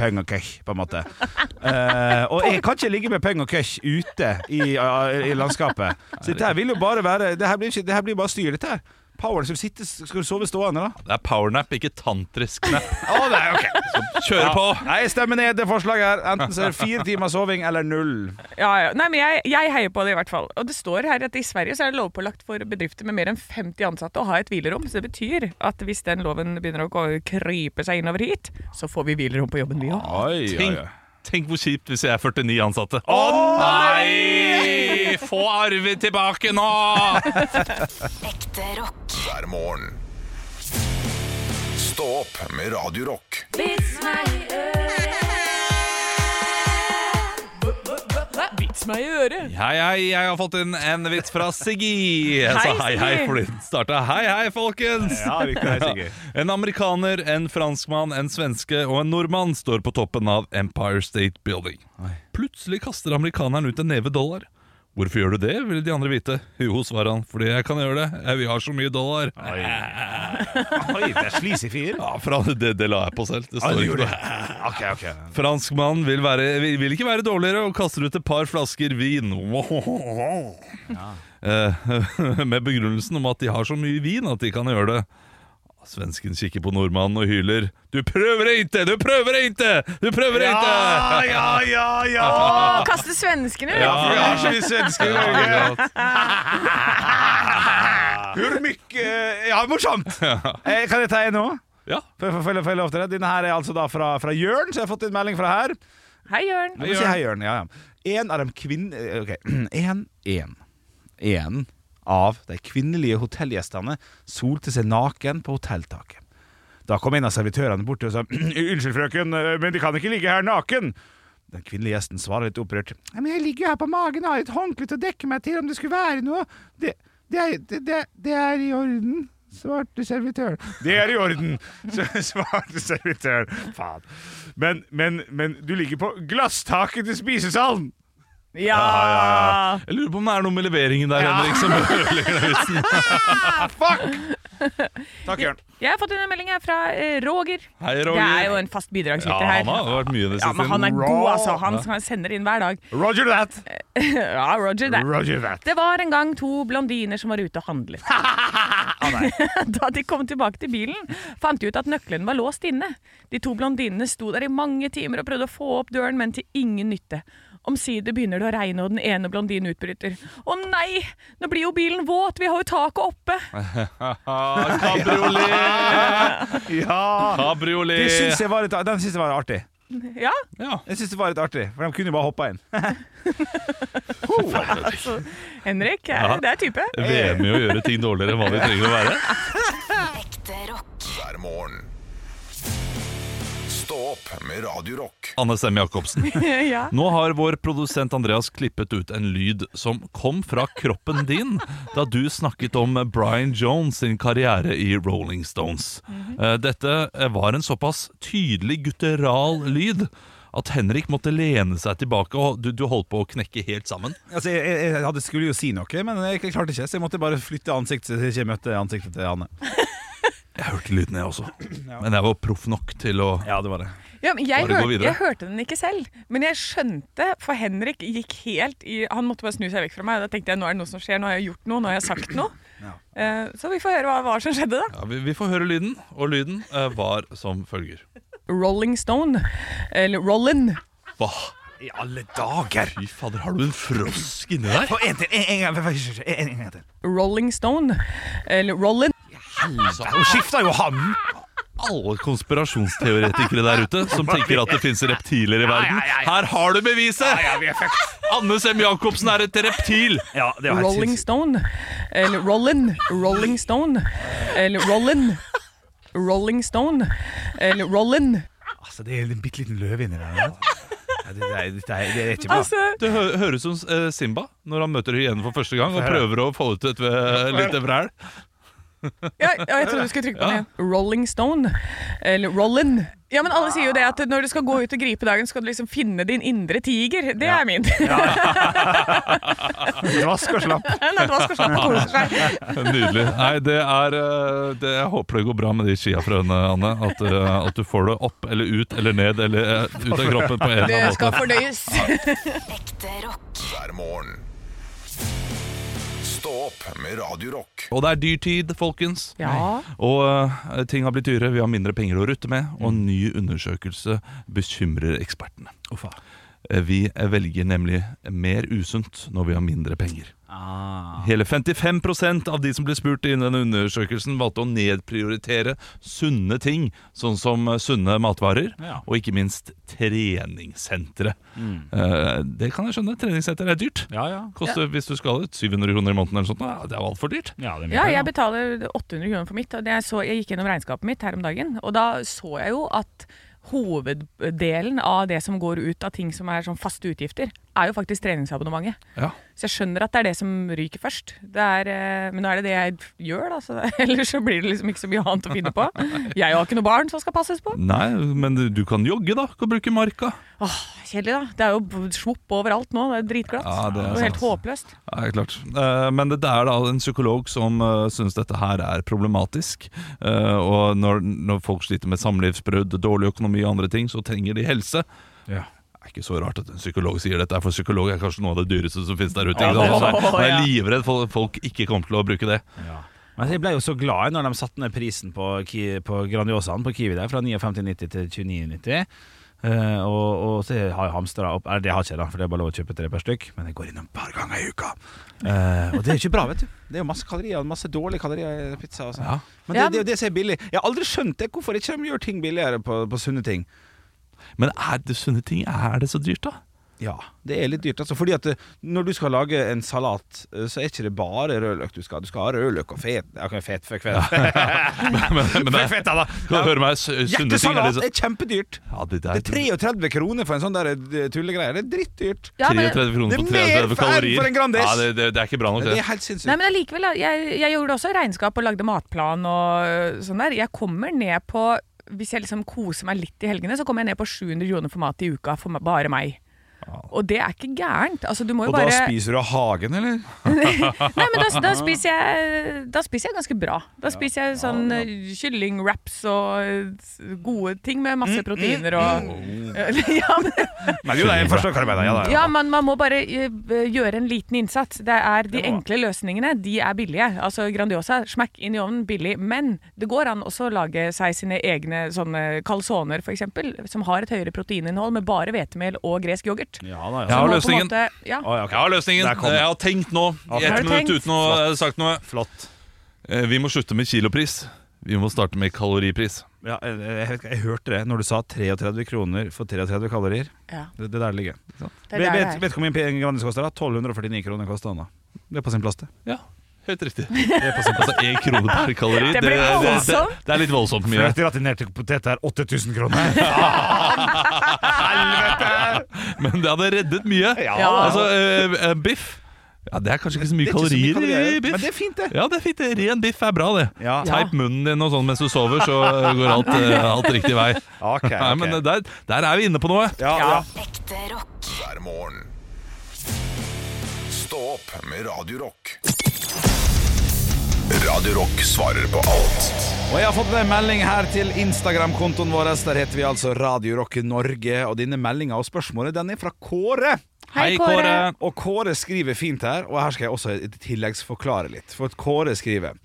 S3: Pung og køch, på en måte. Eh, og jeg kan ikke ligge med pung og køch ute i, eh, i landskapet. Så dette her vil jo bare være Det her blir, ikke, det her blir bare styr, dette her. Power som sitter Skal du sove stående, da?
S4: Det er powernap, ikke tantrisk nap.
S3: Å, nei, ok
S4: Kjøre på!
S3: Nei, jeg stemmer ned det forslaget her. Enten så er det fire timer soving eller null.
S2: Ja, ja. Nei, men jeg, jeg heier på det i hvert fall. Og det står her at i Sverige så er det lovpålagt for bedrifter med mer enn 50 ansatte å ha et hvilerom. Så det betyr at hvis den loven begynner å gå- krype seg innover hit, så får vi hvilerom på jobben vi òg.
S3: Oi,
S4: Tenk, tenk hvor kjipt hvis jeg er 49 ansatte. Å nei! Få arven tilbake nå!
S5: Ekte rock.
S1: hver morgen. Stå opp med Radio Rock.
S2: Vits meg i øret!
S4: Hei, hei, jeg har fått inn en vits fra Siggy. Jeg sa
S2: Hei,
S4: hei, hei
S2: Siggy.
S4: fordi den starta. Hei, hei, folkens!
S3: Ja, vi kan reise, gøy.
S4: En amerikaner, en franskmann, en svenske og en nordmann står på toppen av Empire State Building. Plutselig kaster amerikaneren ut en neve dollar. Hvorfor gjør du det, ville de andre vite. Jo, svarer han, fordi jeg kan gjøre det. Eh, Vi har så mye dollar.
S3: Oi, det er sleazy fyr.
S4: Ja, fra, det, det la jeg på selv. Det
S3: Ja,
S4: står
S3: du
S4: ikke
S3: gjorde
S4: noe.
S3: Ok, ok
S4: Franskmannen vil, være, vil vil ikke være dårligere og kaster ut et par flasker vin. Eh, Med begrunnelsen om at de har så mye vin at de kan gjøre det. Svensken kikker på nordmannen og hyler. Du prøver ikke! Du prøver ikke! Du prøver ikke!
S3: ja, ja, ja
S2: Å, kaste svenskene!
S4: Ja,
S3: Vi har så mye svensker i
S4: ja,
S3: Norge
S4: akkurat.
S3: Hvor mye Ja, morsomt eh, Kan jeg ta en nå?
S4: ja.
S3: For, for, for, for, for, Denne her er altså da fra, fra Jørn Så jeg har fått en melding fra her
S2: Hei, Jørn.
S3: Jeg må si hei Jørn ja, ja. En av de kvinne Ok En En En av de kvinnelige hotellgjestene Solte seg naken på hotelltaket Da kom en av servitørene bort og sa Unnskyld frøken, men de kan ikke ligge her naken Den kvinnelige gjesten svarer litt opprørt «Nei, Men jeg ligger jo her på magen og har et håndkle til å dekke meg til Om det skulle være noe Det, det, er, det, det, det er i orden Svarte servitøren Det er i orden s- Svarte servitøren Faen men, men, men du ligger på glasstaket til spisesalen
S2: Ja!
S4: Jeg lurer på om det er noe med leveringen der, Henrik. Som ødelegger den vitsen.
S3: Fuck Takk Jørn
S2: Jeg har fått en melding her fra eh, Roger.
S4: Hei,
S2: Det er
S4: Roger.
S2: jo en fast bidragsyter
S4: Ja,
S2: her.
S4: han har vært mye i det
S2: Ja, men
S4: siste.
S2: han er god, altså. Han
S4: Ja.
S2: han sender inn hver dag.
S3: Roger that
S2: Ja, Roger det.
S3: Roger that
S2: Det var en gang to blondiner som var ute og handlet.
S4: Ah,
S3: nei.
S2: Da de kom tilbake til bilen, fant de ut at nøkkelen var låst inne. De to blondinene sto der i mange timer og prøvde å få opp døren, men til ingen nytte. Omsider begynner det å regne, og den ene blondinen utbryter. Å nei, nå blir jo bilen våt, vi har jo taket oppe.
S4: Ah, Kabriolet!
S3: Ja! Eh. Det
S4: Kabriolet!
S3: syns jeg var litt, den syns jeg var artig.
S2: Ja,
S4: Ja.
S3: Jeg synes det var litt artig, for de kunne jo bare hoppa inn.
S2: Henrik, er,
S4: Ja.
S2: det er type.
S4: VM i å gjøre ting dårligere enn hva de trenger å være.
S5: Ekte rock.
S1: hver morgen. Stå opp med Radio Rock.
S4: Anne Stemme Jacobsen.
S2: Ja.
S4: Nå har vår produsent Andreas klippet ut en lyd som kom fra kroppen din da du snakket om Brian Jones sin karriere i Rolling Stones. Eh, Dette var en såpass tydelig gutteral lyd at Henrik måtte lene seg tilbake, og du, du holdt på å knekke helt sammen.
S3: Altså, jeg, jeg, jeg hadde, skulle jo si noe, men jeg klarte ikke, så jeg måtte bare flytte ansiktet til jeg møtte ansiktet til Anne.
S4: Jeg hørte lyden, jeg også. Men jeg var proff nok til å
S3: Ja, det var det.
S2: Ja, men jeg,
S4: Bare gå
S2: hørte,
S4: videre.
S2: jeg hørte den ikke selv, men jeg skjønte, for Henrik gikk helt i Han måtte bare snu seg vekk fra meg, og da tenkte jeg nå er det noe som skjer, nå har jeg gjort noe, nå har jeg sagt noe. Eh, så vi får høre hva, hva som skjedde, da.
S4: ja, vi, vi får høre lyden, og lyden eh, var som følger.
S2: Rolling Stone, eller Rollin.
S4: Hva?
S3: I alle dager!
S4: Fy fader, har du en frosk inni deg?
S3: Få en til, en, en, gang, en, en, en gang til.
S2: Rolling Stone, eller Rollin.
S4: Altså,
S3: Hun skifta jo ham!
S4: alle konspirasjonsteoretikere der ute som tenker at det fins reptiler i verden. Her har du beviset!
S3: Ja, vi er fucked.
S4: Anne Sem Jacobsen er et reptil!
S3: Ja, det var helt
S2: Rolling
S3: sinnssykt.
S2: Stone, eller Rollin. Rolling Stone, eller Rollin. Rolling Stone, eller Rollin.
S3: Altså, det er en bitte liten løve inni der. Ja, det, det, er- det, er- det er ikke bra.
S2: Altså,
S4: Det hø høres ut som eh, Simba når han møter hyenen for første gang og
S3: høre.
S4: prøver å få ut et eh, lite vræl.
S2: Ja, ja, jeg trodde du skulle trykke på den. igjen. Rolling Stone. Eller Rollin. Ja, men alle sier jo det at når du skal gå ut og gripe dagen, skal du liksom finne din indre tiger. Det er min.
S3: Vask og slapp.
S2: Nattvask og slapp og kose seg.
S4: Nydelig. Nei, det er eh, det, Jeg håper det går bra med de skiafrøene, Anne. At, eh, at du får det opp eller ut eller ned eller eh, ut av kroppen på en eller
S2: Det
S4: annen
S2: skal
S4: måte.
S2: fordøyes.
S5: Ekte rock.
S1: hver morgen. Stå opp med Radio Rock.
S4: Og det er dyrtid, folkens.
S2: Ja.
S4: Og eh, ting har blitt dyrere, vi har mindre penger å rutte med, og
S3: Mm.
S4: en ny undersøkelse bekymrer ekspertene. Eh, Vi velger nemlig mer usunt når vi har mindre penger.
S3: Ah.
S4: Hele 55 av de som ble spurt i denne undersøkelsen, valgte å nedprioritere sunne ting, sånn som eh, sunne matvarer,
S3: Ja. Mm.
S4: og ikke minst treningssentre. Eh, Det kan jeg skjønne, treningssenter er dyrt.
S3: Ja, ja.
S4: Koster, Hvis du skal ut, 700 kroner i måneden eller sånt, ja, det er jo altfor dyrt.
S3: Ja, det er mye
S2: Ja,
S3: penger.
S2: jeg betaler 800 kroner for mitt. Og det jeg, så, jeg gikk gjennom regnskapet mitt her om dagen, og da så jeg jo at hoveddelen av det som går ut av ting som er sånn faste utgifter, er jo faktisk treningsabonnementet.
S4: Ja.
S2: Så jeg skjønner at det er det som ryker først. Det er, eh, men nå er det det jeg gjør, da. Så det, ellers så blir det liksom ikke så mye annet å finne på. Jeg har ikke noe barn som skal passes på.
S4: Nei, men du- du kan jogge, da. Kan bruke marka.
S2: Åh, Kjedelig, da. Det er jo b- svopp overalt nå. Det er dritglatt.
S4: Ja, det er
S2: og helt
S4: sant.
S2: håpløst.
S4: Ja, det er klart. Eh, Men det det er da en psykolog som eh, syns dette her er problematisk. Eh, Og når, når folk sliter med samlivsbrudd, dårlig økonomi og andre ting, så trenger de helse.
S3: Ja.
S4: Det er ikke så rart at en psykolog sier dette, for psykolog er kanskje noe av det dyreste som finnes der ute.
S3: Ja,
S4: Ikke
S3: det er
S4: sant? Man er,
S2: sant.
S4: man er livredd for at folk ikke kommer til å bruke det.
S3: Men jeg ble jo så glad når de satte ned prisen på, ki på Grandiosaen på Kiwi der, fra 59,90 til 29,90. Eh, og, og så har jeg hamstra opp Eller det har jeg ikke, da, for det er bare lov å kjøpe tre per stykk. Men jeg går innom et par ganger i uka. Eh, og det er ikke bra, vet du. Det er jo masse kalorier, og masse dårlige kalorier i pizza. Og sånn.
S4: Ja.
S3: Men det, det er jo det som er billig. Jeg har aldri skjønt det, hvorfor ikke de gjør ting billigere på, på sunne ting.
S4: Men er det sunne ting? Er det så dyrt, da?
S3: Ja, det er litt dyrt. Altså, fordi at eh, når du skal lage en salat, eh, så er ikke det bare rødløk du skal ha. Du skal ha rødløk og fet Ok, fet, fuck, fet.
S4: Men, men det,
S3: Feta, da.
S4: kan du høre meg, su- sunne ting er
S3: Hjertesalat
S4: liksom
S3: er kjempedyrt.
S4: ja, det
S3: Det
S4: der,
S3: er 33 kroner for en sånn der eh, tullegreie. Det er drittdyrt.
S2: Ja, men,
S4: 33 kroner på
S3: Det er mer
S4: 33
S3: for-
S4: kalorier.
S3: for en Grandis.
S4: Ja, det, det, det er ikke bra nok,
S3: Det
S4: det.
S3: er helt sinnssykt.
S2: nei, men allikevel, da. Jeg, jeg gjorde også regnskap og lagde matplan og øh, sånn der. Jeg kommer ned på hvis jeg liksom koser meg litt i helgene, så kommer jeg ned på 700 kroner for mat i uka for meg- bare meg. Og det er ikke gærent. Altså, du må jo
S3: Og da
S2: bare
S3: spiser du av hagen, eller?
S2: Nei, men da, da, spiser jeg, da spiser jeg ganske bra. Da spiser jeg sånn ja, kyllingwraps og eh, gode ting med masse proteiner og ja, men,
S3: Nei, jo, nei, jeg forstår hva du mener. Ja, da,
S2: ja, men man må bare eh, gjøre en liten innsats. Det er De enkle løsningene de er billige. Altså Grandiosa, smekk inn i ovnen, billig. Men det går an også å lage seg sine egne sånne calzoner, f.eks., som har et høyere proteininnhold med bare hvetemel og gresk yoghurt.
S3: ja, da,
S4: Jeg
S3: ja.
S2: Som
S4: har
S2: må på en
S4: løsningen.
S2: måte- ja.
S3: Å, ja, ok.
S4: Jeg har løsningen.
S3: Der kom den.
S4: Jeg har tenkt nå i
S2: Har
S4: ett
S2: du
S4: minutt
S2: tenkt?
S4: uten å ha sagt noe.
S3: Flott.
S4: Eh, Vi må slutte med kilopris. Vi må starte med kaloripris.
S3: Ja, jeg, jeg, jeg hørte det når du sa 33 kroner for 33 kalorier.
S2: Ja.
S3: Det, det der ligger. Ikke sant?
S2: Det er der
S3: vet,
S2: det
S3: vet,
S2: er.
S3: vet du hvor mye en Grandis koster? da? 1249 kroner koster den da. Det er på sin plass, det.
S4: Ja, helt riktig. Det er på sin plass. Altså én krone per kalori.
S2: Det blir
S4: det, det,
S2: voldsomt.
S4: det er litt voldsomt mye.
S3: Gratinerte poteter er 8000 kroner.
S4: Men det hadde reddet mye.
S2: da.
S4: Altså, eh, eh, biff ja, Det er kanskje ikke så mye
S3: Det er ikke så mye
S4: kalorier, i
S3: kalorier,
S4: biff.
S3: men det er fint, det.
S4: Ja, det er fint. det. Ren biff er bra, det.
S3: Ja.
S4: Teip munnen din og sånn mens du sover, så går alt, eh, alt riktig vei.
S3: Ok, ok.
S4: Nei, men der, der er vi inne på noe.
S3: Ja, ja.
S5: Ekte rock.
S1: hver morgen. Stå opp med Radio Rock. Radio Rock svarer på alt
S3: Og jeg har fått en melding her til Instagram-kontoen vår. Der heter vi altså Radio Rock Norge. Og denne meldinga og spørsmålet, den er fra Kåre.
S4: Hei, Kåre.
S3: Og Kåre skriver fint her, og her skal jeg også i tilleggsforklare litt. For at Kåre skriver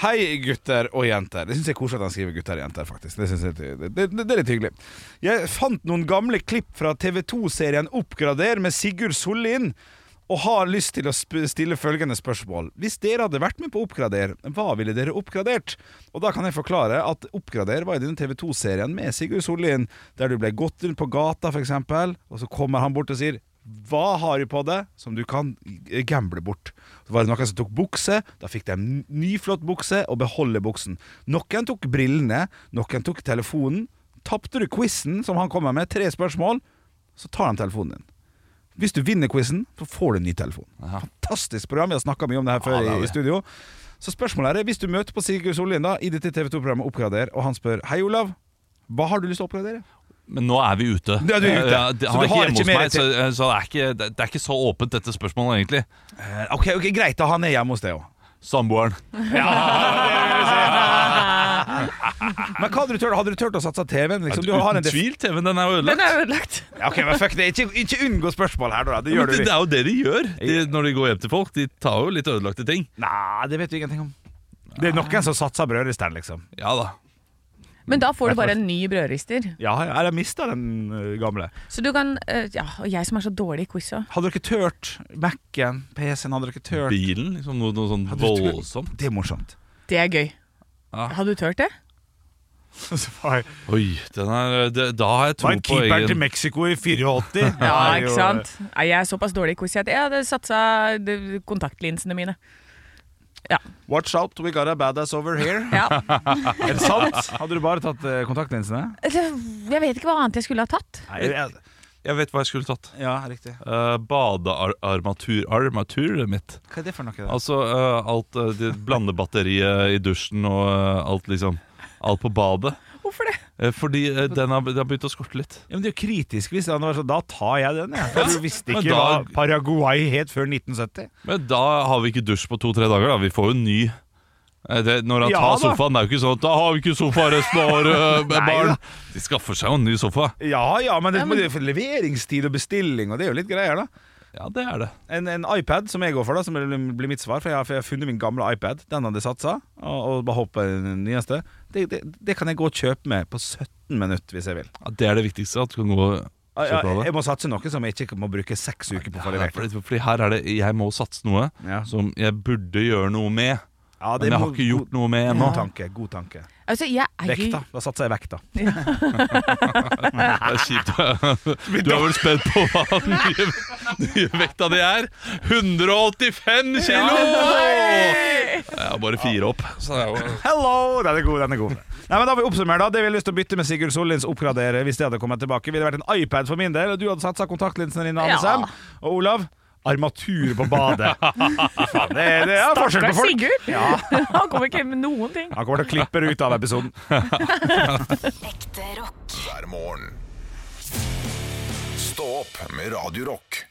S3: Hei, gutter og jenter. Det syns jeg er koselig at han skriver gutter og jenter, faktisk. Det, synes jeg, det, det, det er litt hyggelig. Jeg fant noen gamle klipp fra TV2-serien Oppgrader med Sigurd Sollien. Og har lyst til å sp stille følgende spørsmål. Hvis dere hadde vært med på Oppgrader, hva ville dere oppgradert? Og da kan jeg forklare at Oppgrader var i den TV2-serien med Sigurd Sollien, der du ble gått rundt på gata, f.eks., og så kommer han bort og sier hva har de på det som du kan gamble bort? Så var det noen som tok bukse, da fikk de en ny flott bukse og beholde buksen. Noen tok brillene, noen tok telefonen. Tapte du quizen som han kommer med, tre spørsmål, så tar han telefonen din. Hvis du vinner quizen, så får du en ny telefon. Fantastisk program, vi har snakka mye om det her før
S4: det har vi.
S3: i studio. Så spørsmålet er, hvis du møter på Sigurd Sollien da, i dette TV2-programmet Oppgrader, og han spør Hei, Olav, hva har du lyst til å oppgradere?
S4: Men nå er vi ute.
S3: Ja, du er ute.
S4: Ja, det,
S3: Så du
S4: han
S3: har
S4: er ikke hjemme
S3: ikke
S4: hos
S3: mer
S4: meg, så,
S3: til-
S4: så det, er ikke, det det er ikke så åpent, dette spørsmålet, egentlig.
S3: Eh, Ok, ok, greit, da han er hjemme hos deg òg.
S4: Samboeren.
S3: Men hva hadde du tørt? Hadde du tørt å satse TV-en? Liksom? Du har en
S4: Uten
S3: def-
S4: tvil, TV-en den er ødelagt.
S2: Den er ødelagt.
S3: Ja, Ok, men fuck det. Ikke, ikke unngå spørsmål her, da. Det
S4: Men
S3: gjør du
S4: det, det
S3: ikke.
S4: er jo det de gjør de, når de går hjem til folk. De tar jo litt ødelagte ting.
S3: Nei, det vet du ingenting om. Det er noen som satser brødristeren, liksom.
S4: Ja da.
S2: Men da får du bare en ny brødrister.
S3: Ja, ja, eller mista den ø, gamle.
S2: Så du kan eh, Ja, og jeg som er så dårlig i quiz òg.
S3: Hadde dere tørt Mac-en, PC-en, hadde dere tørt
S4: Bilen, liksom noe, noe sånn
S3: Hadde dere tørt-
S4: voldsomt.
S3: Det er morsomt.
S2: Det er gøy.
S4: Ja.
S2: Har du tørt det?
S3: Var
S4: Oi, den er, det, da har jeg tro
S3: en
S4: på
S3: keeper til
S4: egen
S3: Mexico i 84.
S2: Ja,
S3: Det er
S2: ikke
S3: jo-
S2: sant? Nei, jeg er såpass dårlig i quiz at jeg hadde satsa de- kontaktlinsene mine.
S3: Watch out, we got a badass over here.
S2: Ja.
S3: Er det sant? Hadde du bare tatt ø, kontaktlinsene?
S2: Eller, Eh, Jeg vet ikke hva annet jeg skulle ha tatt.
S3: Nei, jeg-
S4: Jeg vet hva jeg skulle tatt.
S3: ja, riktig.
S4: Uh, Badearmatur. Armaturet mitt.
S3: Hva er det for noe? da?
S4: Altså eh, alt eh, det Blandebatteriet i dusjen og eh, alt, liksom. Alt på badet.
S2: Hvorfor det?
S4: Eh, fordi eh, den har, det har begynt å skorte litt.
S3: Ja, men Det er jo kritisk hvis han var sånn Da tar jeg den, jeg. For du visste
S4: Men
S3: ikke
S4: da-
S3: hva Paraguay het før 1970.
S4: Men da har vi ikke dusj på to-tre dager, da. Vi får jo ny. Eh, Det, når han
S3: Ja,
S4: tar
S3: da.
S4: sofaen, det er jo ikke sånn at da har vi ikke sofa resten av året, eh,
S3: Nei,
S4: barn.
S3: da.
S4: De skaffer seg jo en ny sofa.
S3: Ja, ja, men det, men det er for leveringstid og bestilling, og det er jo litt greier, da.
S4: Ja, det er det.
S3: En, en iPad, som jeg går for, da som blir mitt svar, for jeg har, for jeg har funnet min gamle iPad. Den hadde jeg satsa, og, og bare hoppa i den nyeste. Det, det, det kan jeg gå og kjøpe med på 17 minutter, hvis jeg vil.
S4: Ja, det er det viktigste. At du kan gå og
S3: Ja,
S4: kjøpe
S3: ja,
S4: av det.
S3: Jeg må satse noe som jeg ikke må bruke seks uker på for
S4: Ja,
S3: levert.
S4: fordi, fordi her er det Jeg må satse noe
S3: Ja.
S4: som jeg burde gjøre noe med.
S3: Ja,
S4: Men jeg har ikke gjort noe med ennå.
S3: God tanke. god tanke
S2: Altså, jeg er jo
S3: Vekta. Da satser jeg vekta.
S4: Det er kjipt. Du er vel spent på hva den nye, nye vekta di er? 185 kilo! Jeg er bare fire opp. Så det er jo
S3: Hello! Den er god. den er god Nei, men Da vil vi oppsummere da Det vi har lyst til å bytte med Sigurd Sollins oppgradere hvis det hadde kommet tilbake. Ville det vært en iPad for min del, og du hadde satsa kontaktlinsene dine. Anne
S2: Ja.
S3: Sem. Og Olav armatur på badet. Fy faen, det, det er forskjell
S2: Det
S3: på
S2: er
S3: folk.
S2: Sigurd! Han kommer ikke med noen ting.
S3: Han kommer til å klippe det ut av episoden.
S5: Ekte rock.
S1: hver morgen. Stå Stå opp med Radio Rock.